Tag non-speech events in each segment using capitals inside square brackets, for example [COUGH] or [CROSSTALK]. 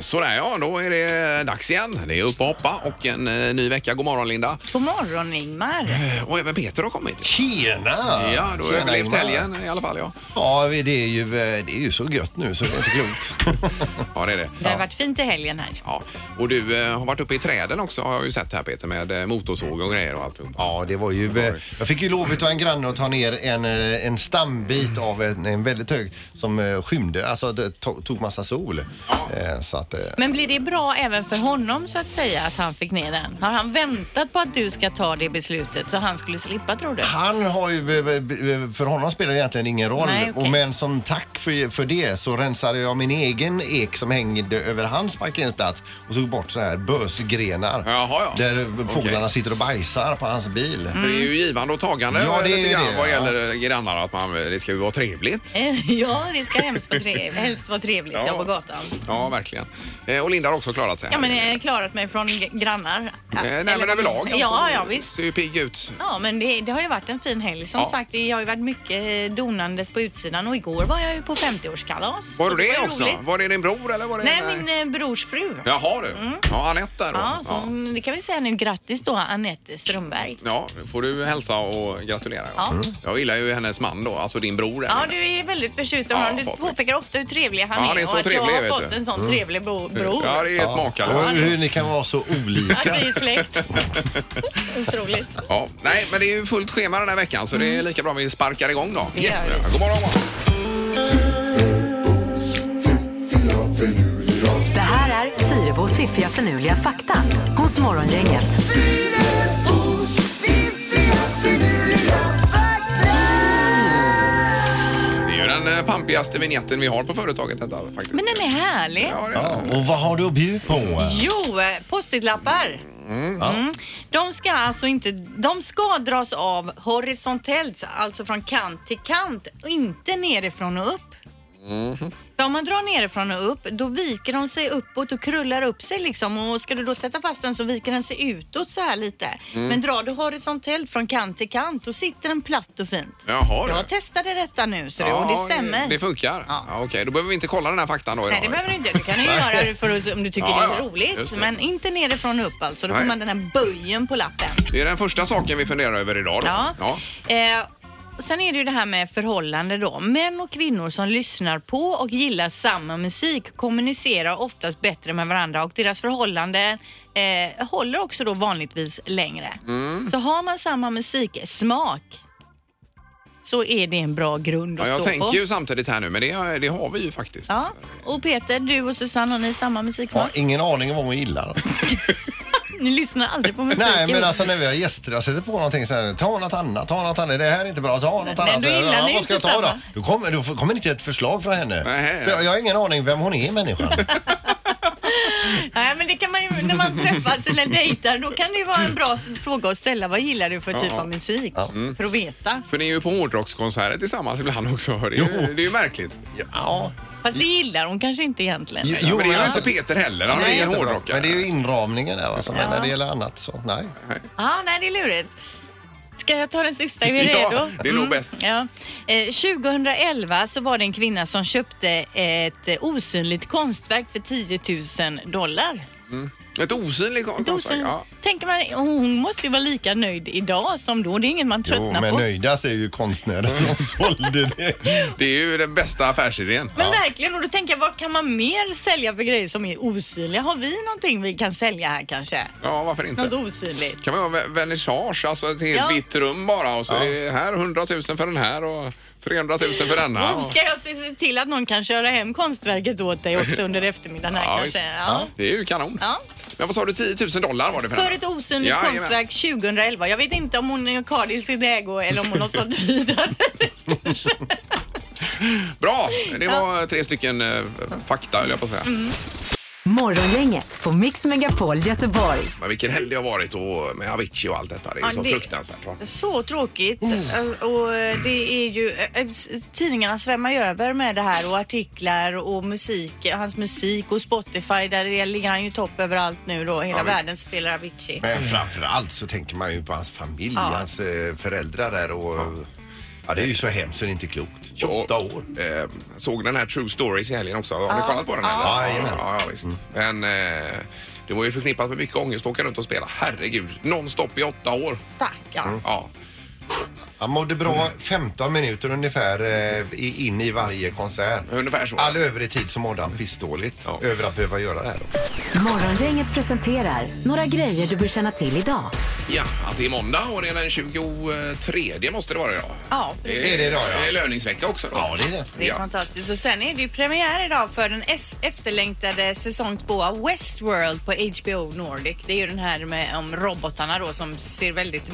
Sådär ja, då är det dags igen. Det är upp och hoppa och en eh, ny vecka. God morgon Linda. Eh, God morgon Ingmar. Och även Peter har kommit. Tjena! Ja, du har Tjena, överlevt Ingmar. helgen i alla fall ja. Ja, det är, ju, eh, det är ju så gött nu så det är inte klokt. [LAUGHS] Ja, det är det. Det har varit fint i helgen här. Ja. Och du eh, har varit uppe i träden också har jag ju sett här Peter med eh, motorsåg och grejer och allt. Ja, det var ju... eh, Jag fick ju lov utav en granne att ta ner en, eh, en stambit av en, en väldigt hög som eh, skymde, alltså det to- tog massa sol. Eh, Så att, eh, Men blir det bra även för honom så att säga att han fick ner den? Har han väntat på att du ska ta det beslutet så han skulle slippa tror du? han har ju, eh, eh, för honom spelar det egentligen ingen roll. Nej, okej. och men som tack för, för det så rensade jag min egen ek som hängde över hans parkeringsplats och tog bort så här bösgrenar. Jaha, ja. Där fåglarna Okej. sitter och bajsar på hans bil. Det är ju givande och tagande Mm. Ja, det är lite ju grann det, vad ja. gäller grannar. Att man, eh, det ska ju vara trevligt. [LAUGHS] Ja, det ska hemskt vara trevligt, helst vara trevligt ja. på gatan. Ja, verkligen. Eh, Och Linda har också klarat sig. Ja, här. men jag har klarat mig från g- grannar. Eh, Nej, Eller- men överlag Ja, alltså, ja visst. Ser ju pigg ut. Ja, men det, det har ju varit en fin helg. Som Ja. sagt, det har ju varit mycket donandes på utsidan och igår var jag ju på 50-årskalas. Var Så du det, ju också? roligt. Var det din bror eller var det... Nej, min Mm. eh, brors fru. Ja, Jaha du. Ja, Anette där då. så det kan vi säga nu. Grattis då, Anette Strömberg. Ja, nu får du hälsa och gratulera. Ja. Ja. Mm. Jag gillar ju hennes man då, alltså din bror. Ja, Elina. du är väldigt förtjust i Ja, honom. Du Patrik. påpekar ofta hur trevlig han Ja, han är är så och att trevlig, jag har vet fått du. Mm. en sån trevlig bro- bror. [LAUGHS] Ja, det är helt Och makalöst. hur ni kan vara så Att vi olika. är släkt. [LAUGHS] Otroligt. Ja. Nej, men det är ju fullt schema den här veckan så det är lika bra om vi sparkar igång då. Mm. Det gör vi. Ja, God morgon, god morgon. Det här är Fyrabos fiffiga förnuliga fakta hos Morgongänget. Det är ju den eh, pampigaste vignetten vi har på företaget detta faktiskt. Men den är härlig. Ja, det är Ja, den. och vad har du att bjuda på? Jo, eh, postitlappar. Mm. De ska alltså inte, de ska dras av horisontellt, alltså från kant till kant, och inte nerifrån och upp. För om man drar nerifrån och upp, då viker de sig uppåt och krullar upp sig liksom. Och ska du då sätta fast den så viker den sig utåt så här lite. Men drar du horisontellt från kant till kant, då sitter den platt och fint. Jaha, du. Jag testade detta nu så det, och det stämmer. Det funkar. Ja. Ja. Okej, då behöver vi inte kolla den här faktan då idag. Nej, det behöver du inte. Du [LAUGHS] kan ju göra det för att, om du tycker Ja, det är ja. Just roligt. det. Men inte nerifrån och upp alltså. Då får Nej. man den här böjen på lappen. Det är den första saken vi funderar över idag då. Ja. Eh, och sen är det ju det här med förhållande då. Män och kvinnor som lyssnar på och gillar samma musik kommunicerar oftast bättre med varandra och deras förhållande eh, håller också då vanligtvis längre. Mm. Så har man samma musiksmak så är det en bra grund Ja, att jag stå tänker på. ju samtidigt här nu, men det, det har vi ju faktiskt. Ja. Och Peter, du och Susanne, har ni samma musiksmak? Ja, ingen aning om vad hon gillar. Ni lyssnar aldrig på musik. Nej, men ihop. alltså när vi har gäster, jag sätter på någonting så här, ta något annat, ta något annat, det här är inte bra, ta något annat. då Så här, gillar ni vad inte ska jag ta då? samma. Då kommer, då kommer inte ett förslag från henne. Nej. För jag, jag har ingen aning vem hon är människan. Nej, men det kan man ju, när man träffas eller dejtar, då kan det ju vara en bra s- fråga att ställa. Vad gillar du för typ av musik? Mm. För att veta. För ni är ju på hårdrockskonserter tillsammans ibland också. Det är ju, Jo. det är ju märkligt. Ja, Fast det gillar hon kanske inte egentligen. jo, Jo, men det är ju men- inte Peter heller. Han är Nej, ingen inte bra. hårdrockare. Men det är ju inramningen där va, som är när det gäller annat så, nej. Ja, nej, det är lurigt. Ska jag ta den sista? Är vi [LAUGHS] Ja, redo? det är nog bäst. Mm. Ja. Eh, 2011 så var det en kvinna som köpte ett osynligt konstverk för 10 000 dollar. Ett osynligt kon- Ett konstverk. osynligt. Ja. Tänker man, hon måste ju vara lika nöjd idag som då. Det är inget man Jo, tröttnar men på. nöjdast är ju konstnären som [LAUGHS] sålde det. Det är ju den bästa affärsidén. Men verkligen, och då tänker jag vad kan man mer sälja för grejer som är osynliga? Har vi någonting vi kan sälja här kanske? Ja, varför Något inte? osynligt? kan man göra ve- vernissage, alltså ett helt Ja. vitt rum bara och så är det här 100 000 för den här och 300 000 för denna. Oh, Och... ska jag se se till att någon kan köra hem konstverket åt dig också under eftermiddagen [LAUGHS] här Ja, kanske? visst. Ja. Det är ju kanon. Ja. Men vad sa du, 10 000 dollar var det för För denna? ett osynligt Ja, jajamän. konstverk 2011. Jag vet inte om hon har det i sin ägo eller om hon [LAUGHS] har sålt vidare. Bra! Det var tre stycken eh, fakta höll jag på att säga. Mm. Morgongänget på Mix Megapol Göteborg. Men vilken helg det har varit och med Avicii och allt detta. Det är ju Ja, så det- fruktansvärt. va? Så tråkigt. Mm. Alltså, Och eh, det är ju, eh, eh, s- tidningarna svämmar ju över med det här och artiklar och musik, hans musik och Spotify. Där ligger han ju topp överallt nu då. Hela Ja, visst. världen spelar Avicii. Mm. Men framförallt så tänker man ju på hans familj, Ja. hans eh, föräldrar där och Ja, det är ju så hemskt så det är inte klokt. Jag, 28 år. Eh, såg den här True Stories i helgen också. Har ni kollat på den? Ja, eller? jajamän. ja, ja visst. Men eh, det var ju förknippat med mycket ångest att åka runt och spela. Herregud, nonstop i åtta år. Stackarn. Ja. Han mådde bra Mm. 15 minuter ungefär eh, i- in i varje konsert. Ungefär så. All övrig tid så mådde han pissdåligt Ja. över att behöva göra det här. Då. Morgongänget presenterar några grejer du bör känna till idag. Ja, att det är måndag och det är den 23 måste det vara idag. Ja, precis. Det Är det idag, ja. Det är löningsvecka också. Då. Ja, det är det. Det är fantastiskt. Och sen är det ju premiär idag för den es- efterlängtade säsong två av Westworld på HBO Nordic. Det är ju den här med om robotarna då som ser väldigt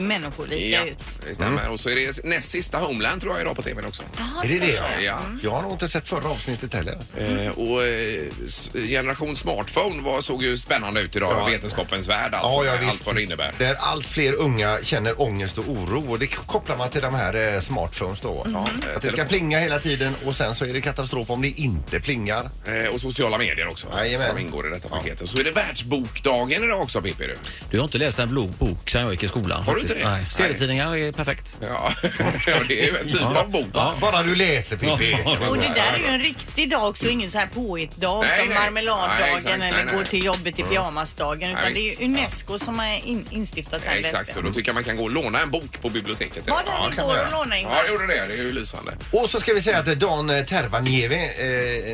Ja, människolika ut. det stämmer. Och så är det näst sista Homeland tror jag idag på tvn också. Är det det? Ja. Ja. Jag har nog inte sett förra avsnittet heller. Eh, och eh, s- generation smartphone var, såg ju spännande ut idag. Ja. Vetenskapens värld alltså. Ja, ja, med visst. Allt vad det innebär. Där allt fler unga känner ångest och oro och det kopplar man till de här eh, smartphones då. Att det ska Telefon. plinga hela tiden och sen så är det katastrof om det inte plingar. Eh, och sociala medier också Jajamän. som ingår i detta paketet. Så är det världsbokdagen idag också Pippi. Du. Du har inte läst en blå bok sen jag gick i skolan. Har du inte faktiskt. det? Nej. Serietidningar är perfekt. Ja. [LAUGHS] ja, det är ju en typ av bok. Ba- Bara du läser Pippi. Ja. Och det där är ju en riktig dag också, ingen så här påhittdag Nej, som nej. Nej, marmeladdagen exakt. Nej, eller nej. gå till jobbet i pyjamasdagen. Utan Nej, det visst. är ju Unesco som har in- instiftat den Exakt, och då tycker jag man kan gå och låna en bok på biblioteket. Var det ja, den igår kan man och göra. lånade ja, Ingvar? jag gjorde det. Det är ju lysande. Och så ska vi säga att Dan eh, Tervaniemi,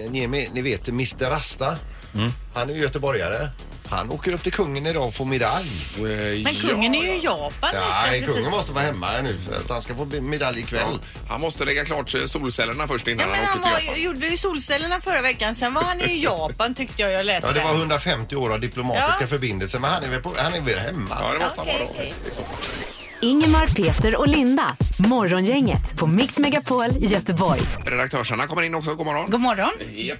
eh, Niemi, ni vet Mr Rasta. Mm. Han är ju göteborgare. Han åker upp till kungen idag och får medalj. Eh, Men kungen är ju i Japan Nej, nästan kungen precis. måste vara hemma nu för att han ska få medalj ikväll. Han måste lägga klart eh, solcellerna först Ja, innan men han han åker till var, Japan. gjorde ju solcellerna förra veckan, sen var han ju i Japan tyckte jag jag läste. Ja, det var 150 år av diplomatiska förbindelser men han är väl, på, han är väl hemma. Ja, det måste han vara då. i så fall. Ingemar, Peter och Linda. Morgongänget på Mix Megapol Göteborg. Redaktörsarna kommer in också. God morgon. God morgon. Japp.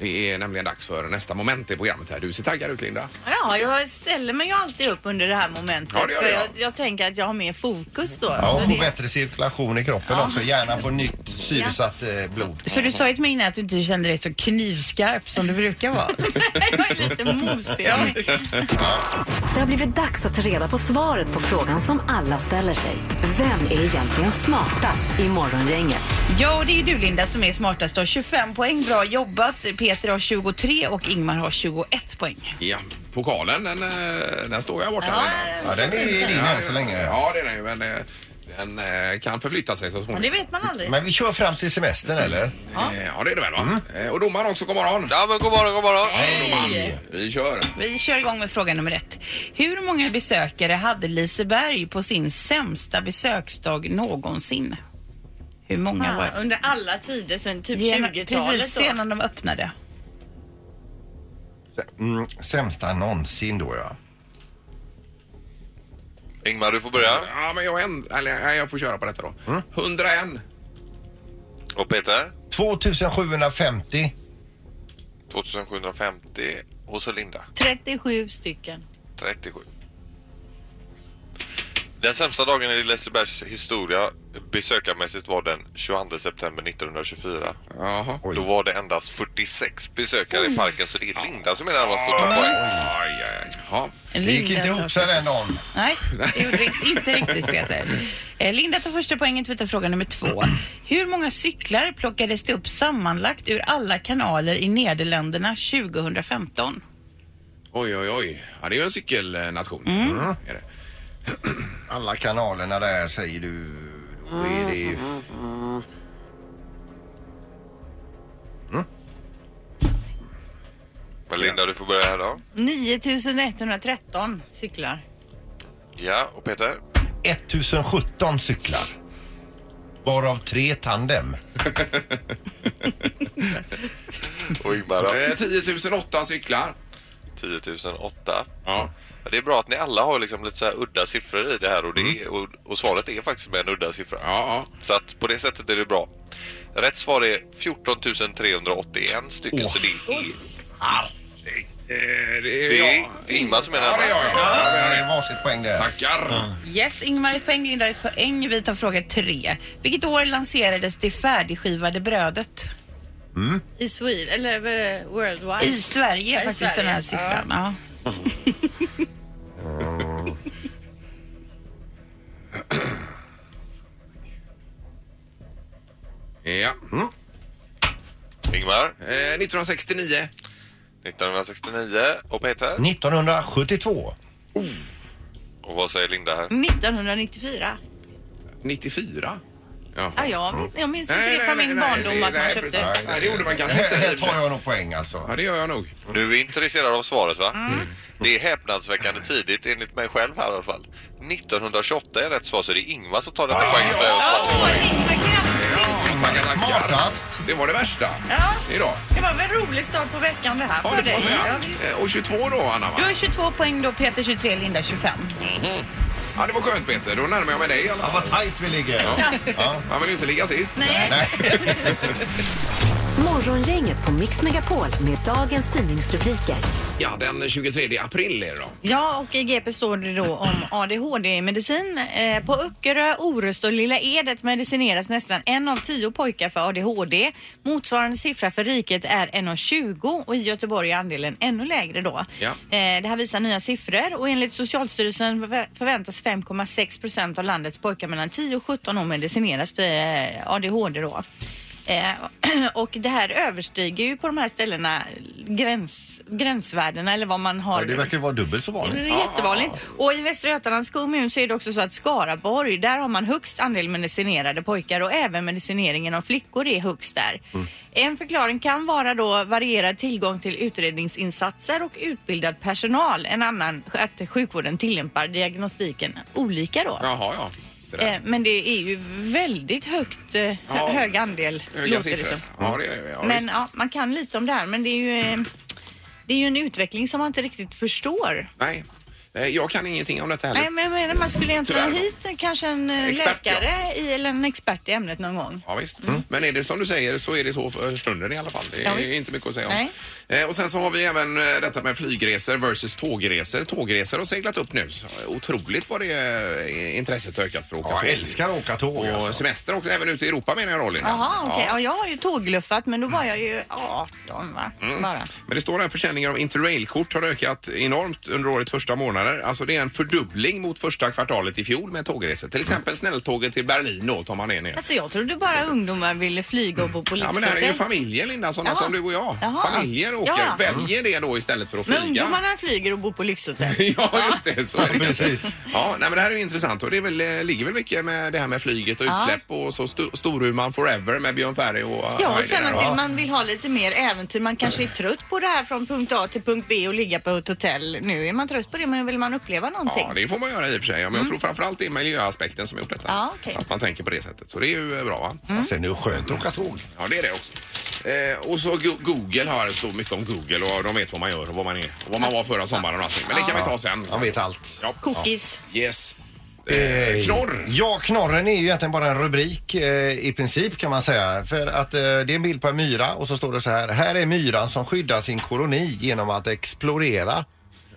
Det är nämligen dags för nästa moment i programmet här. Du ser taggad ut Linda. Ja, jag ställer mig ju alltid upp under det här momentet. Ja, det gör för jag. jag, jag tänker att jag har mer fokus då. Ja, Så och få det- bättre cirkulation i kroppen också. Hjärnan får nytt syresatt eh, blod. För du sa ju till mig innan att du inte kände dig så knivskarp som du brukar vara. [LAUGHS] jag är lite mosig. av mig. Det har blivit dags att ta reda på svaret på frågan som alla ställer sig. Vem är egentligen smartast i Morgongänget? ja, och det är ju du Linda som är smartast. Du har 25 poäng, bra jobbat. Peter har 23 och Ingmar har 21 poäng. Ja, pokalen den, eh, den står jag borta. Linda. Ja, den är din än så länge. Ja, det är den ju. Men eh, den eh, kan förflytta sig så Men småningom. det vet man aldrig. Men vi kör fram till semestern eller? Eh, Ja, det är det väl va? Eh, Och domaren också, god morgon. Ja, men god morgon, god morgon. Domaren. Vi kör. Vi kör igång med fråga nummer ett. Hur många besökare hade Liseberg på sin sämsta besöksdag någonsin? Hur många Ja, var under alla tider sen typ Genom- 20-talet Precis, då. sedan de öppnade. Mm, sämsta någonsin då ja. Ingmar, du får börja. Ja, men jag, änd- eller, nej, jag får köra på detta då. Mm. 101. Och Peter? 2750. 2750. Och så Linda, 37 stycken. 37. Den sämsta dagen i Lisebergs historia besökarmässigt var den 22 september 1924. Jaha. Då var det endast 46 besökare i parken, så det är Linda som är närmast att ta poäng. Aj, aj, aj. Ja. Det gick inte ihop sig den dagen. Nej, det gjorde det inte riktigt Peter. [LAUGHS] Eh, Linda tar första poänget, vi tar fråga nummer två. Hur många cyklar plockades det upp sammanlagt ur alla kanaler i Nederländerna 2015? Oj, oj, oj. Ja, det är ju en cykelnation. Mm. Är det. Alla kanalerna där säger du. Då är det ju... Men Linda, du får börja här då. 9113 cyklar. Ja, och Peter? 1017 cyklar. Varav tre tandem. Och Ingmar då? Eh, 10 008 cyklar. 10 008. Ja. Ja, Det är bra att ni alla har liksom lite så här udda siffror i det här och, det är, och, och svaret är faktiskt med en udda siffra. Ja, Så att på det sättet är det bra. Rätt svar är 14 381 stycken. Så det är, ja. Eh, det är det är jag. Ingmar som är Ja, det är närmast. jag. Ja. Det är varsitt poäng där. Tackar. Yes, Ingmar ett poäng, Linda ett poäng. Vi tar fråga tre. Vilket år lanserades det färdigskivade brödet? I Sweden, eller eh, worldwide. I Sverige I faktiskt Sverige, den här siffran. Ja. Ja. Ingmar, Eh, 1969. 1969 och Peter. 1972. Och vad säger Linda här? Mm. 1994. 94. Jaha. Ah, Ja, jag, jag minns inte Nej, det nej, från nej, min nej, barndom nej, att man nej, köpte. precis. Nej, det gjorde man kanske inte. Här tar jag nog poäng alltså. Ja, det gör jag nog. Nu är vi intresserade av svaret va? Mm. Det är häpnadsväckande tidigt enligt mig själv här i alla fall. 1928 är rätt svar så det är Ingmar som tar detta poängen. där. Åh, Ingmar, grattis! Tackar, tackar. Smartast. Det var det värsta Ja, idag. det var väl rolig start på veckan det här Ja, det får för dig. man säga. Ja, visst. Eh, Och 22 då, Anna va? Du har 22 poäng då, Peter 23, Linda 25. Ja, det var skönt Peter. Då närmar jag mig dig i alla Ja, fall. vad tajt vi ligger. Ja. Man vill ju inte ligga sist. Nej. Morgongänget på Mix Megapol med dagens tidningsrubriker. Ja, den 23 april är det då. Ja, och i GP står det då om ADHD-medicin. Eh, på Öckerö, Orust och Lilla Edet medicineras nästan en av tio pojkar för ADHD. Motsvarande siffra för riket är en av 20 och i Göteborg är andelen ännu lägre då. Ja. Eh, det här visar nya siffror och enligt Socialstyrelsen förvä- förväntas 5,6 procent av landets pojkar mellan 10 och 17 år medicineras för eh, ADHD då. Eh, [CLEARS THROAT] och det här överstiger ju på de här ställena gräns, gränsvärdena eller vad man har Ja, det verkar vara dubbelt så vanligt. det är jättevanligt. Och i Västra Götalands kommun så är det också så att Skaraborg, där har man högst andel medicinerade pojkar och även medicineringen av flickor är högst där. Mm. En förklaring kan vara då varierad tillgång till utredningsinsatser och utbildad personal. En annan att sjukvården tillämpar diagnostiken olika då. Jaha, ja. Sådär. Eh, Men det är ju väldigt högt, eh, hö- Ja. hög andel Höga låter det siffror. som. Ja, det är ja, Men visst. ja, man kan lite om det här men det är ju, eh, det är ju en utveckling som man inte riktigt förstår. Nej, Eh, jag kan ingenting om detta heller. Nej, men jag menar, man skulle egentligen ha Tyvärr. hit en- kanske en eh, Expert, ja. läkare i, eller en expert i ämnet någon gång. Ja, visst. Mm. Men är det som du säger så är det så för stunden i alla fall. Det är Ja, visst. ju inte mycket att säga om. Nej. Eh, och sen så har vi även eh, detta med flygresor versus tågresor. Tågresor har seglat upp nu. Otroligt vad det eh, intresset har ökat för att åka Jag tåg. älskar att åka tåg Och alltså. semester också, även ute i Europa menar jag då Linda. Jaha, okej. Ja. Ja. jag har ju tågluffat men då var jag ju 18 va? Mm. Bara. Men det står här försäljningen av Interrail-kort har ökat enormt under årets första månader. Alltså det är en fördubbling mot första kvartalet i fjol med tågresor. Till Mm. exempel snälltåget till Berlin då tar man det ner. Alltså jag trodde bara ungdomar ville flyga och bo på Ja men det här är ju lyxhotell. familjer Linda, sådana Jaha. som du och jag. Jaha. Familjer åker, Ja. väljer det då istället för att men flyga. ungdomarna flyger och bor på lyxhotell. [LAUGHS] Ja, just det. Så är det Precis. Ja, nej, men det här är ju intressant och det är väl, eh, ligger väl mycket med det här med flyget och Ja. utsläpp och så sto- Storuman forever med Björn Ferry och... eh, Ja, vad är och det sen där, att va? det- man vill ha lite mer äventyr. Man kanske är trött på det här från punkt A till punkt B och ligga på ett hotell. Nu är man trött på det, men vill man uppleva någonting? Mm. Ja, det får man göra i och för sig. Ja, men jag tror framförallt det är miljöaspekten som gjort detta. Ja, okej. Mm. Att man tänker på det sättet. Så det är ju eh, bra va? Mm. Sen är det skönt att åka tåg. Ja, det är det också. Eh, och så Go- Google har det står mycket om Google och de vet vad man gör och vad man är och vad man var förra sommaren och allting. Men det kan vi ta sen. Man vet allt. Ja. Cookies. Yes. Eh, knorr. Ja, knorren är ju egentligen bara en rubrik eh, i princip kan man säga. För att eh, det är en bild på en myra och så står det så här. Här är myran som skyddar sin koloni genom att explorera.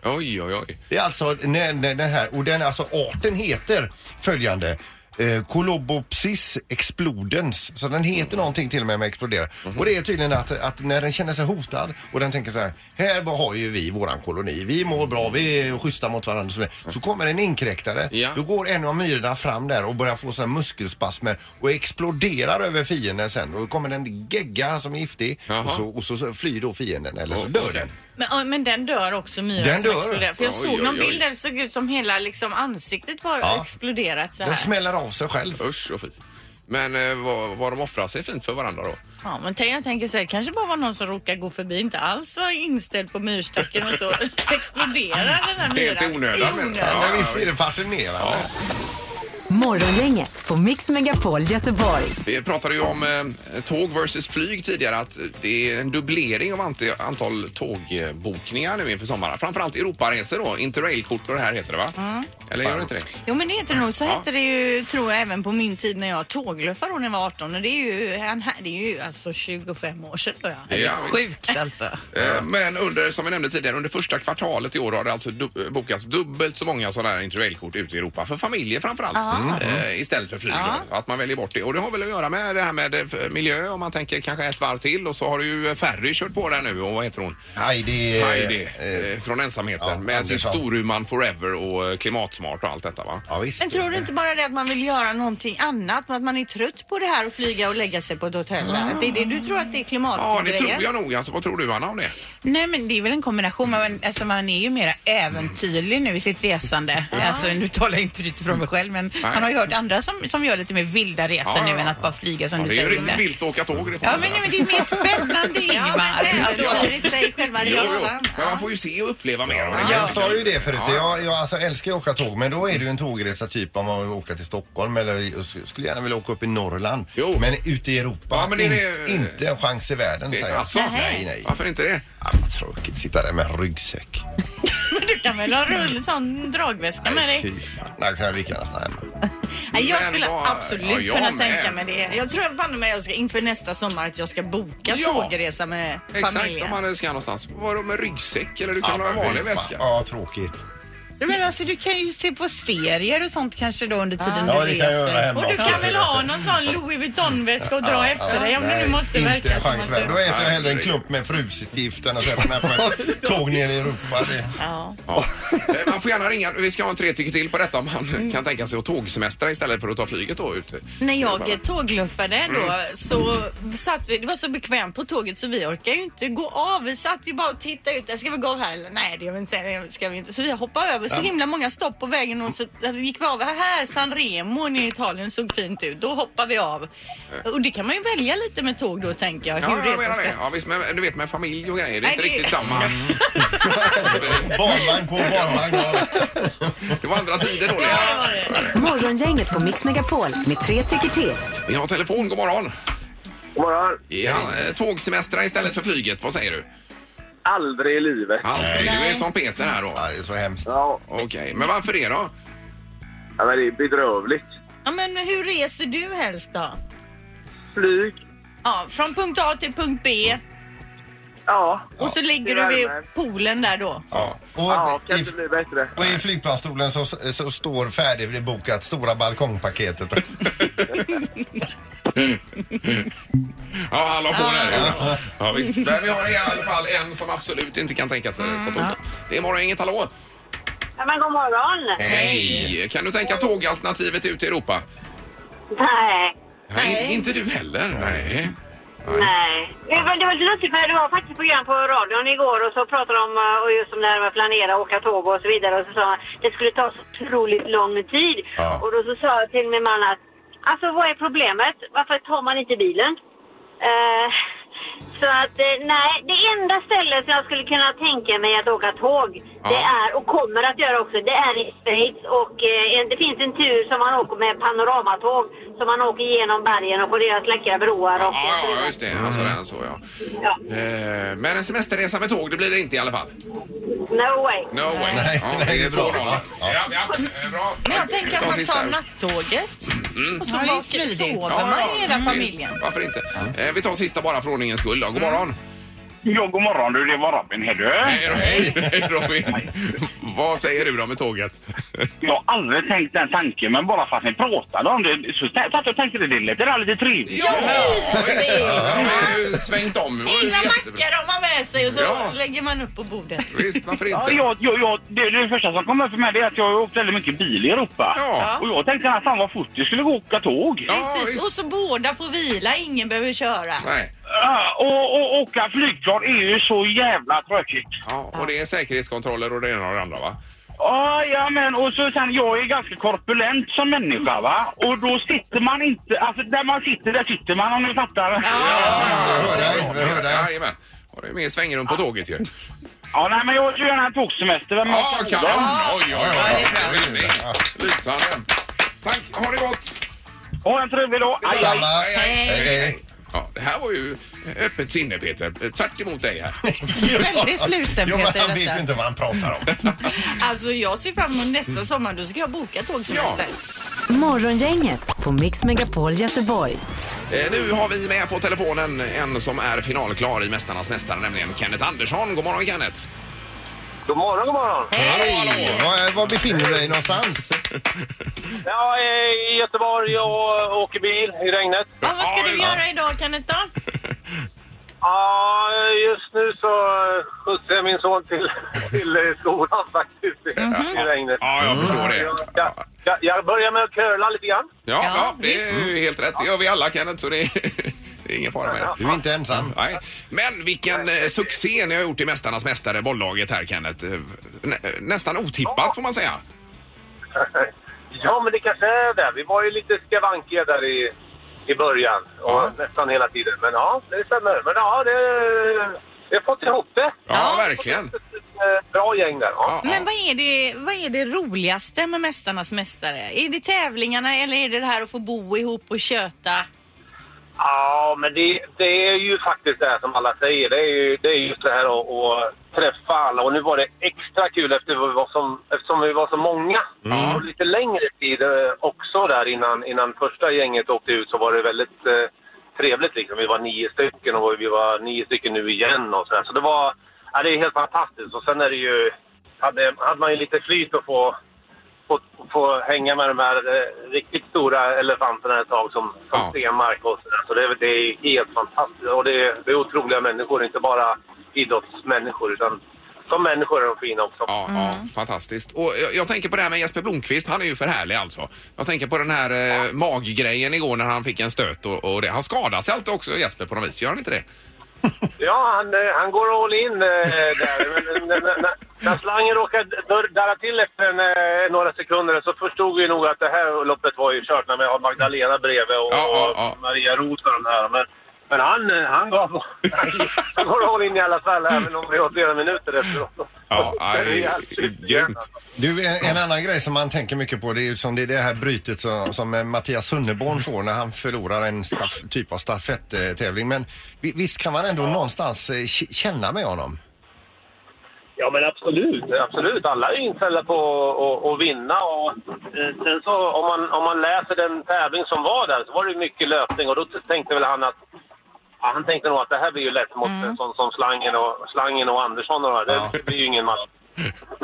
Oj, oj, oj. Det är alltså när- när den här, och den, alltså arten heter följande. Eh, Colobopsis explodens. Så den heter någonting till och med med explodera. Och det är tydligen att, att när den känner sig hotad och den tänker så här, här har ju vi våran koloni, vi mår bra, vi är schyssta mot varandra. och Så, vidare. så kommer en inkräktare, Ja. då går en av myrorna fram där och börjar få såna här muskelspasmer och exploderar över fienden sen. Och då kommer en gegga som är giftig Jaha. och så, och så- så flyr då fienden eller så Oh, dör okej. den. Men, ja, men den dör också myran Den som dör? exploderar. För jag Oj, såg någon oj, oj. bild där det såg ut som hela liksom, ansiktet var exploderat så Den här. smäller av sig själv. Usch och fy. Men eh, vad, vad de offrar sig fint för varandra då. Ja, men tänk, jag tänker så här, kanske bara var någon som råkade gå förbi, inte alls var inställd på myrstacken och [LAUGHS] så exploderar den här myran. Helt i onödan I menar onödan. jag. Men visst är det fascinerande? Morgongänget på Mix Megapol Göteborg. Vi pratade ju om eh, tåg versus flyg tidigare att eh, det är en dubblering av ante, antal tågbokningar nu inför sommaren. Framförallt Europaresor då, Interrailkort och det här heter det va? Eller gör det inte det? Jo men det heter det nog. Så Ja. hette det ju tror jag även på min tid när jag tågluffade då när jag var 18 och det är ju, en här- det är ju alltså 25 år sedan då ja. Ja, visst. Sjukt alltså. Eh, Men under, som vi nämnde tidigare, under första kvartalet i år har det alltså du- eh, bokats dubbelt så många sådana här interrailkort ute i Europa. För familjer framförallt. allt Eh, istället för flyg då, Att man väljer bort det. Och det har väl att göra med det här med eh, f- miljö. Om man tänker kanske ett varv till. Och så har ju eh, Ferry kört på där nu. Och vad heter hon? Heidi... Heidi Eh, eh, från ensamheten ja, med sin Andersson. Storuman Forever och eh, klimatsmart och allt detta va? Ja, visst. Men tror du inte bara det att man vill göra någonting annat? Att man är trött på det här att flyga och lägga sig på ett hotell? Att Det är det du tror att det är Mm. Ja, det klimatgrejen? tror jag nog. Alltså, vad tror du Anna om det? Nej, men det är väl en kombination. Man, alltså, man är ju mer äventyrlig nu i sitt resande. Alltså, nu talar jag inte utifrån mig själv, men man har ju hört andra som, som gör lite mer vilda resor Ja, ja, nu ja. än att bara flyga som Ja, du det är ju säger. riktigt Linda. vilt att åka tåg. Det får man Ja, men, säga. nej, men det är mer spännande, Ja, Ingmar. men det Ja, äventyr i sig, själva Jo, jo. resan. Men man får ju se och uppleva mer. av det. Ja, Jag sa ju det förut. Ja. Jag, jag alltså älskar att åka tåg men då är det ju en tågresa typ om man vill åka till Stockholm eller jag skulle gärna vilja åka upp i Norrland. Jo. Men ute i Europa, Ja, men det är in, det- inte en chans i världen säger jag. Alltså, Nej, nej. Varför inte det? Ja, vad tråkigt, sitta där med ryggsäck. Du kan väl ha rull, sån dragväska med dig? Fy fan, där kan jag lika gärna stanna hemma. Nej, jag Men skulle vad- absolut ja, jag kunna med. tänka mig det. Jag tror banne mig jag ska inför nästa sommar att jag ska boka Ja. tågresa med Exakt, om familjen. man ska någonstans. Vadå med ryggsäck? Eller du kan ha en men vanlig fy fan. väska? Ja, tråkigt. du, men, alltså, du kan ju se på serier och sånt kanske då under tiden Ja, du det kan jag göra reser. hemma Och du också. kan väl ha någon sån Louis Vuitton-väska och dra efter dig om du nu Nej, måste inte verka en som chans att i världen. du... Då äter jag hellre en Nej. klump med fruset gift än att sätta mig på ett tåg ner i Europa. Det... Ja. Ja. Eh, Man får gärna ringa. Vi ska ha en tre tycker till på detta om man kan tänka sig att tågsemestra istället för att ta flyget då ut. Mm. När jag eh, tågluffade Mm. då så satt vi, det var så bekvämt på tåget så vi orkade ju inte gå av. Vi satt ju bara och tittade ut. Äh, Ska vi gå av här eller? Nej, det gör vi inte. Det ska vi inte. Så vi hoppade över så himla många stopp på vägen och så gick vi av. Här, Sanremo nere i Italien såg fint ut. Då hoppar vi av. Och det kan man ju välja lite med tåg då tänker jag. Eh. Ja, Hur jag menar resan ska... det. Ja, visst, men du vet med familj och grejer, det är Nej, inte det- riktigt [LAUGHS] samma. Barnvagn på barnvagn. Det var andra tider då. det. Morgongänget på Mix Megapol med tre tycker till. Vi har telefon, god morgon. God morgon. Ja, eh, tågsemestra istället för flyget, vad säger du? Aldrig i livet. Aldrig. Du är som Peter här då. Ja, det är så hemskt. Ja, Okej, men varför det då? ja, men det är bedrövligt. Ja, men hur reser du helst då? Flyg. Ja, från punkt A till punkt B Ja. och så ligger det du är vid värme. poolen där då. Ja. Ja, Och, kan i, inte bli bättre. och i flygplansstolen så, så står färdigbokat stora balkongpaketet. Ja, han la på där. Ja. Ja, visst. Men vi har i alla fall en som absolut inte kan tänka sig på tåget. Det är morgon, inget hallå. Ja, men god morgon. Hej! Kan du tänka tågalternativet ut i Europa? Nej. Nej. inte du heller? Nej. Nej. Det var, det var lite lustigt för det var faktiskt program på radion igår och så pratade de om eh, och just om det här med att planera, åka tåg och så vidare och så sa han det skulle ta så otroligt lång tid. Ja. Och då så sa jag till min man att alltså vad är problemet? Varför tar man inte bilen? Eh, så att eh, nej, det enda stället som jag skulle kunna tänka mig att åka tåg Ja. det är och kommer att göra också, det är i Schweiz och eh, en- det finns en tur som man åker med panoramatåg som man åker genom bergen och på deras läckra broar Ja, och så ja, vidare. ja, just det. Alltså, den, så, ja. Ja. Eh, Men en semesterresa med tåg, det blir det inte i alla fall. No way. No way. Nej, ja, nej, det är bra. va? Ja, ja, eh, bra. Men jag tänker att Ta man sista tar ut. nattåget och så Ja, det är vakar, smidigt. sover Ja, man ja, i hela visst. familjen. Varför inte? Eh, Vi tar sista bara för ordningens skull. Då. God morgon! Ja, god morgon du. Det var Robin här du. Hej, Ro- hej Robin! Vad säger du då med tåget? Jag har aldrig tänkt den tanken, men bara för att ni pratade om det så tä- satt jag och tänkte det, det lät det där lite trevligt. Ja, precis! Vi har ju svängt om. Det var ju Egna jättebra. mackor har man med sig och så Ja. lägger man upp på bordet. Visst, varför Ja, inte? jag, jag, jag, det, det första som kom upp för mig det är att jag har åkt väldigt mycket bil i Europa. Ja. Och jag tänkte att fan vad fort det skulle gå att åka tåg. Ja, Precis. visst. Och så båda får vila, ingen behöver köra. Nej. Ja, och, och åka flygplan är ju så jävla tråkigt. Ja, och det är säkerhetskontroller och det ena och det andra va? Ja, ja men och så sen, jag är ganska korpulent som människa va. Och då sitter man inte, alltså där man sitter där sitter man om ni fattar. jag hör dig, jag hör dig. Jajamän. Och det är mer svängrum på tåget ju. Ja, nej men jag åker gärna en tågsemester. Vem Ja, åker kanon! då? Oj, oj, oj. Vinning. Lysande. Tack, ha det gott! Ha en trevlig dag. Aj, aj. Samma. hej. Ja, det här var ju öppet sinne Peter. Tvärt emot dig här. Väldigt sluten, Jo, men Peter, han vet detta. ju inte vad han pratar om. Alltså jag ser fram emot nästa sommar, då ska jag boka tågsemester. Morgongänget på Mix Megapol Göteborg. Eh, nu har vi med på telefonen en som är finalklar i Mästarnas Mästare, nämligen Kenneth Andersson. God morgon Kenneth! God morgon, god morgon. Hej! Var, var befinner du dig någonstans? Jag är i Göteborg och åker bil i regnet. Ja, vad ska Ja, du ja. göra idag Kenneth då? Ja, just just nu så eh, skjutsar jag min son till, till eh, skolan faktiskt i, i regnet. Mhm. Mm. Ja, jag förstår det. Jag, jag, jag börjar med att curla lite grann. Ja, ja, det är ju helt rätt. Det gör vi alla Kenneth, så det är, det är ingen fara med det. Du är inte ensam. Nej. Men vilken eh, succé ni har gjort i Mästarnas Mästare, bolllaget här Kenneth. Eh, Nä, nästan otippat får man säga. Ja, men det kanske är det. Vi var ju lite skavankiga där i, i början och nästan hela tiden. Men ja, det stämmer. Men ja, det, vi har fått ihop det. Ja, verkligen. Eh, Bra gäng där. Ja. Men vad är, det, vad är det roligaste med Mästarnas Mästare? Är det tävlingarna eller är det det här att få bo ihop och köta? Ja, men det, det är ju faktiskt det här som alla säger. Det är ju, det är just det här att, att träffa alla. Och nu var det extra kul efter vi var som, eftersom vi var så många. Och lite längre tid eh, också där innan, innan första gänget åkte ut så var det väldigt eh, trevligt. Liksom. Vi var nio stycken och vi var nio stycken nu igen. Och så, där. så det var ja, det är helt fantastiskt. Och sen är det ju, hade, hade man ju lite flyt att få få, få hänga med de här eh, riktigt stora elefanterna ett tag som, som Stenmark och sådär. Så det, är- det är helt fantastiskt. Och det, är- det är otroliga människor, inte bara idrottsmänniskor utan som människor är de fina också. Ja, ja, Mm. fantastiskt. Och jag, jag tänker på det här med Jesper Blomqvist, han är ju för härlig alltså. Jag tänker på den här eh, maggrejen igår när han fick en stöt och, och det. Han skadar sig alltid också Jesper på något vis, gör han inte det? Ja, han, eh, han går all in eh, där. Men, när, när, när slangen råkar dör- darra till efter en, eh, några sekunder så förstod vi nog att det här loppet var ju kört när vi har Magdalena bredvid och, och Maria Roth och de här. Men, men han, eh, han gav... [LAUGHS] Han går all in i alla fall, även om vi har flera minuter efteråt. Ja, [LAUGHS] det är grymt. Du, eh, en, en annan grej som man tänker mycket på det är ju som det, är det här brytet som, som eh, Mattias Sunneborn får när han förlorar en staff, typ av stafetttävling. Men vi- visst kan man ändå någonstans eh, k- känna med honom? Ja, men absolut. Absolut. Alla är inställda på att- att- att vinna. Och, eh, sen så, om, man, om man läser den tävling som var där så var det ju mycket löpning och då t- tänkte väl han att ja, han tänkte nog att det här blir ju lätt mot en sån som Slangen och, slangen och Andersson. Och de här. det, det blir ju ingen match.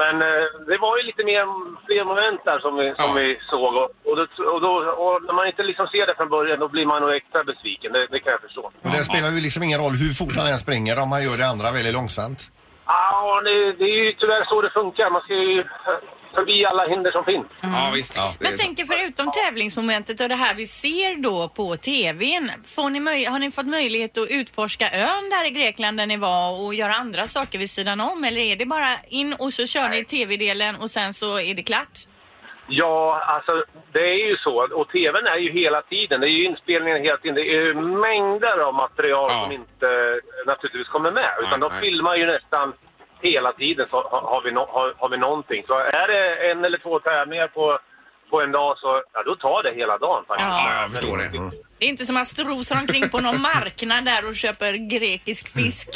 Men eh, det var ju lite mer, fler moment där som vi, som vi såg. Och, och, då, och, då, och när man inte liksom ser det från början då blir man nog extra besviken. Det, det kan jag förstå. Och det spelar ju liksom ingen roll hur fort han än springer om han gör det andra väldigt långsamt. Ja, det, det är ju tyvärr så det funkar. Man ska ju eh, förbi alla hinder som finns. Ja, visst. Mm. Men tänk förutom tävlingsmomentet och det här vi ser då på TVn. Får ni möj- har ni fått möjlighet att utforska ön där i Grekland där ni var och göra andra saker vid sidan om? Eller är det bara in och så kör ni TV-delen och sen så är det klart? Ja, alltså det är ju så. Och tvn är ju hela tiden. Det är ju inspelningar hela tiden. Det är ju mängder av material som inte eh, naturligtvis kommer med. Utan de filmar ju nästan hela tiden så har, har, vi no, har, har vi någonting. Så är det en eller två tävlingar på, på en dag så ja, då tar det hela dagen faktiskt. Ja, jag förstår det. Mm. Det är inte som att man strosar omkring på någon marknad där och köper grekisk fisk.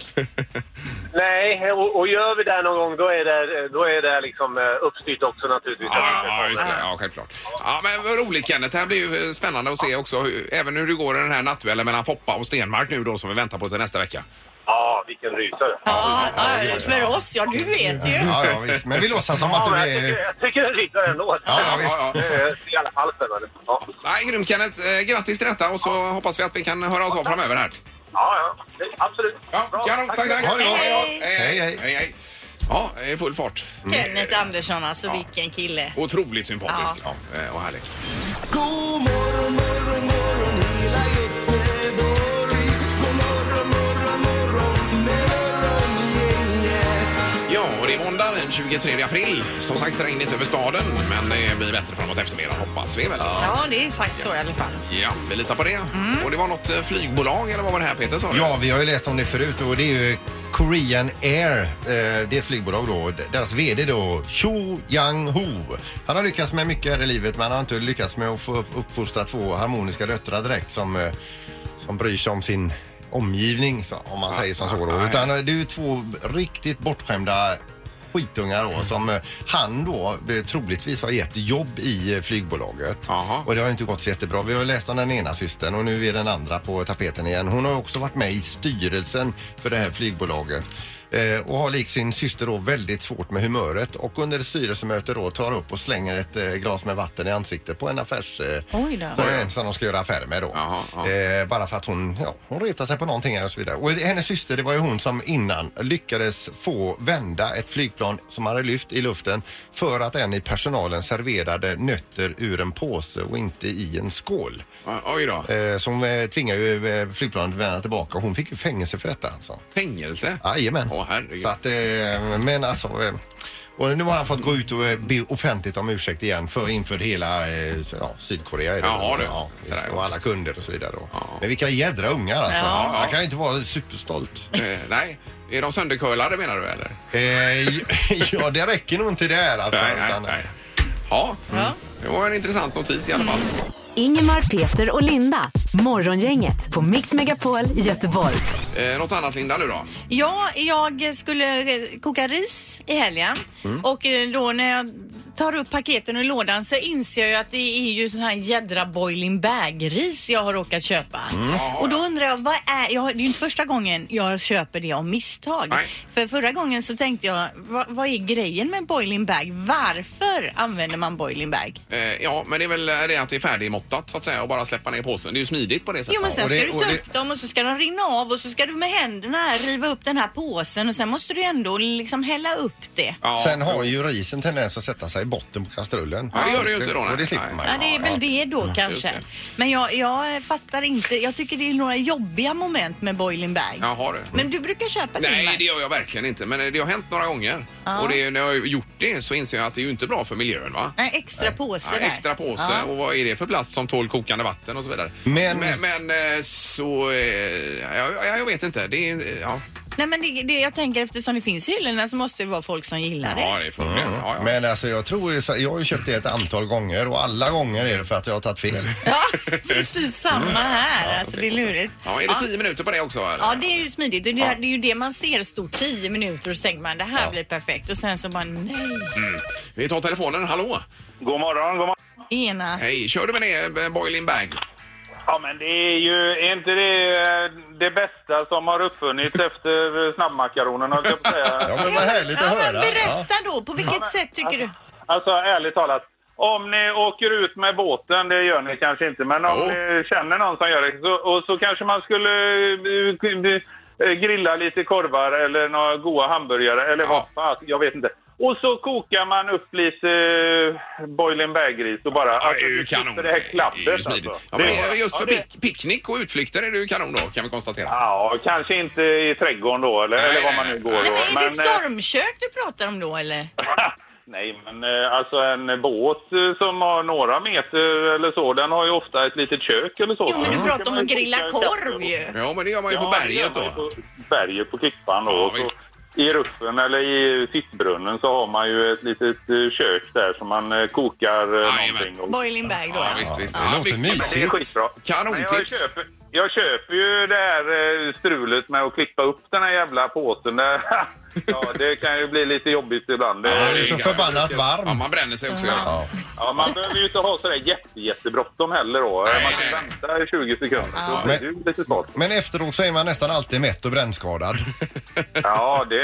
Nej, och, och gör vi det någon gång då är det, då är det liksom eh, uppstyrt också naturligtvis. Ja, just det. Ja, självklart. Ja, men vad roligt Kenneth. Det här blir ju eh, spännande att se också hur, även hur det går i den här nattduellen mellan Foppa och Stenmark nu då som vi väntar på till nästa vecka. Ja, vilken rysare. Ja, ja, för oss, ja du vet ju. Ja, ja visst. Men vi låtsas som Ja, att du men jag är... tycker, jag tycker den rysar ändå. Ja, ja, visst. I alla fall spännande. Ja, Nej, grymt Kenneth. Eh, Grattis till detta och så hoppas vi att vi kan höra oss av framöver här. ja, ja. absolut. Ja, kanon. Tack, tack. Ha det bra. Hej, hej. hej, hej. Ja, det är full fart. Kenneth Andersson alltså, vilken kille. Otroligt sympatisk ja. eh, och härlig. God morgon, morgon, morgon hela Göteborg. God morgon, morgon, morgon morgongänget. Ja, och det är måndag den 23 april. Som sagt, regnet över staden, men det blir bättre framåt eftermiddagen hoppas vi väl. Ja, det är sagt så i alla fall. Ja, vi litar på det. Och det var något eh, flygbolag eller vad var det här Peter sa? du? Ja, vi har ju läst om det förut och det är ju Korean Air, eh, det är ett flygbolag då. Deras VD då, Cho Yang-ho. Han har lyckats med mycket här i livet men han har inte lyckats med att få upp, uppfostra två harmoniska döttrar direkt som, eh, som bryr sig om sin omgivning, så, om Ah, man säger som så då. Utan eh, det är ju två riktigt bortskämda skitungar då som eh, han då eh, troligtvis har gett jobb i eh, flygbolaget. Och det har inte gått så jättebra. Vi har läst om den ena systern och nu är den andra på tapeten igen. Hon har också varit med i styrelsen för det här flygbolaget. Eh, och har likt sin syster då väldigt svårt med humöret och under ett styrelsemöte då tar upp och slänger ett eh, glas med vatten i ansiktet på en affärs... Eh, Oj då. som är en som de ska göra affärer med då. Eh, bara för att hon, ja, hon retar sig på någonting här och så vidare. Och hennes syster, det var ju hon som innan lyckades få vända ett flygplan som hade lyft i luften för att en i personalen serverade nötter ur en påse och inte i en skål. Oj då. Eh, som eh, tvingade ju eh, flygplanet att vända tillbaka och hon fick ju fängelse för detta alltså. Fängelse? Jajamän. Åh, herregud. Så att, eh, men alltså... Eh, och nu har han fått gå ut och eh, be offentligt om ursäkt igen för inför hela eh, ja, Sydkorea. är det Jaha, väl? du. Ja, visst, och alla kunder och så vidare. Då. Men vilka jädra ungar alltså. Ja. Man kan ju inte vara superstolt. Eh, nej, är de söndercurlade menar du eller? Eh, [LAUGHS] ja, det räcker nog inte där alltså. Nej, nej, utan- nej. Ja, Mm. det var en intressant notis i alla fall. Ingemar, Peter och Linda. Morgongänget på Mix Megapol Göteborg. Eh, något annat Linda nu då? Ja, jag skulle eh, koka ris i helgen Mm. och eh, då när jag tar upp paketen ur lådan så inser jag ju att det är ju sån här jädra boiling bag-ris jag har råkat köpa. Mm. Och då undrar jag, vad är, jag, har- det är ju inte första gången jag köper det av misstag. För förra gången så tänkte jag, vad, vad är grejen med boiling bag? Varför använder man boiling bag? Eh, ja, men det är väl det att det är färdigmåttat så att säga och bara släppa ner påsen. Det är ju smidigt på det sättet. Jo men sen Och ska det- du och ta det- upp dem och så ska de rinna av och så ska du med händerna här riva upp den här påsen och sen måste du ändå liksom hälla upp det. Sen har ju risen tendens att sätta sig i botten på kastrullen. Ja, det gör det ju inte då, nej. Och det slipper man Ja, det är väl det då kanske. det. Men jag, jag fattar inte. Jag tycker det är några jobbiga moment med boiling bag. Jaha du. Men du brukar köpa det Nej, Ingmar? det gör jag verkligen inte. Men eh, det har hänt några gånger. Ja. Och det, när jag har gjort det så inser jag att det är ju inte bra för miljön va? Nej, extra påse Ja, där. extra påse Ja. och vad är det för plats som tål kokande vatten och så vidare. Men- men, men, eh, så, eh, ja, ja, jag vet inte. Det är, eh, ja. Nej men det, det, jag tänker eftersom det finns i hyllorna så måste det vara folk som gillar [LAUGHS] det. det är förmodligen. Ja, ja. Men alltså jag tror ju, så- jag har ju köpt det ett antal gånger och alla gånger är det för att jag har [LAUGHS] tagit fel. Precis samma här. alltså det är lurigt. Ja, är det tio minuter på det också? Eller? Ja, det är ju smidigt. Det är, det är ju det man ser stort, 10 minuter och så tänker man det här blir perfekt och sen så bara nej. Mm. Vi tar telefonen. Hallå? God morgon, god morgon. Ena. Hej, kör du med det, eh, Boiling Bag? Ja, men det är ju är inte det eh, det bästa som har uppfunnits [LAUGHS] efter eh, snabbmakaronerna, höll jag på att säga. Ja, men vad härligt att höra. Berätta då, på vilket sätt tycker du? Alltså, ärligt talat. Om ni åker ut med båten, det gör ni kanske inte, men om ni känner någon som gör det, så, och så kanske man skulle eh, eh, grilla lite korvar eller några goda hamburgare eller vad fan, jag vet inte. Och så kokar man upp lite eh, boiling bag-ris och bara... alltså, Ja, det är ju kanon. Det här klappet Det är ju smidigt. alltså. Ja, men Det- det är just för ja, det- pick- picknick och utflykter är det ju kanon då, kan vi konstatera. Ja, kanske inte i trädgården då, eller, eller var man nu går då. eh, Är eh, det stormkök du pratar om då eller? [LAUGHS] Nej, men eh, alltså en båt eh, som har några meter eller så, den har ju ofta ett litet kök eller så. Jo, men du Mm. pratar om att grilla korv ju. Ja, men det gör man ju Ja, på det gör berget man ju då. på berget på Klippan då. Och så I ruffen eller i fiskbrunnen så har man ju ett litet eh, kök där som man eh, kokar eh, någonting. Och... Boiling bag då. Ja, ja. visst. Ja, det låter mysigt. Det är skitbra. Men jag, Kanontips. köper, jag köper ju det här eh, strulet med att klippa upp den här jävla påsen. Där. [LAUGHS] ja, det kan ju bli lite jobbigt ibland. Ja, det är så förbannat varm. Ja, man bränner sig också. Ja. Ja, man behöver ju inte ha sådär jätte, jättebråttom heller då. man kan vänta i 20 sekunder så blir det ju lite svårt. Men efteråt så är man nästan alltid mätt och brännskadad. Ja, det...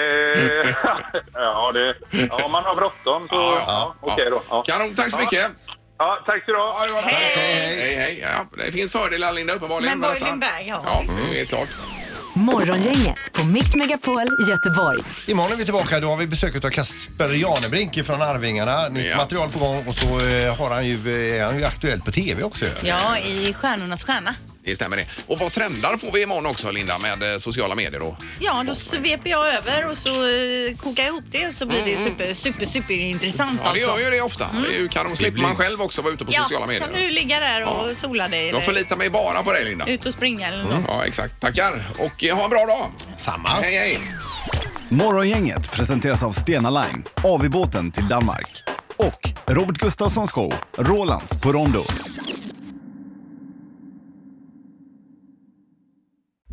ja, det... Ja, om man har bråttom så... Ja, okej då. Ja. Kanon, tack så mycket. Ja, tack ska du ha. Hej, hej, hej. Ja, det finns fördelar, Linda, uppenbarligen. Men med detta. boiling bag, ja. Ja, mm, det är klart. Morgongänget på Mix Megapol Göteborg. Imorgon är vi tillbaka. Då har vi besök av Kasper Janebrink från Arvingarna. Nytt material på gång och så eh, har han ju, eh, är han ju aktuell på TV också. ju. Ja, i Stjärnornas stjärna. Det stämmer det. Och vad trendar får vi imorgon också, Linda, med eh, sociala medier då? Ja, då sveper jag över och så eh, kokar jag ihop det och så blir det super, super, super intressant Mm. Ja, det alltså. gör ju det ofta. Det är ju kanon. Slipper man själv också vara ute på sociala kan medier. du ligga där och sola dig. Jag förlitar mig bara på dig, Linda. Ut och springa eller något. Ja, exakt. Tackar och eh, ha en bra dag. Samma. Hej, hej. Morgongänget presenteras av Stena Line, AV-båten till Danmark och Robert Gustafssons show Rolands på Rondo.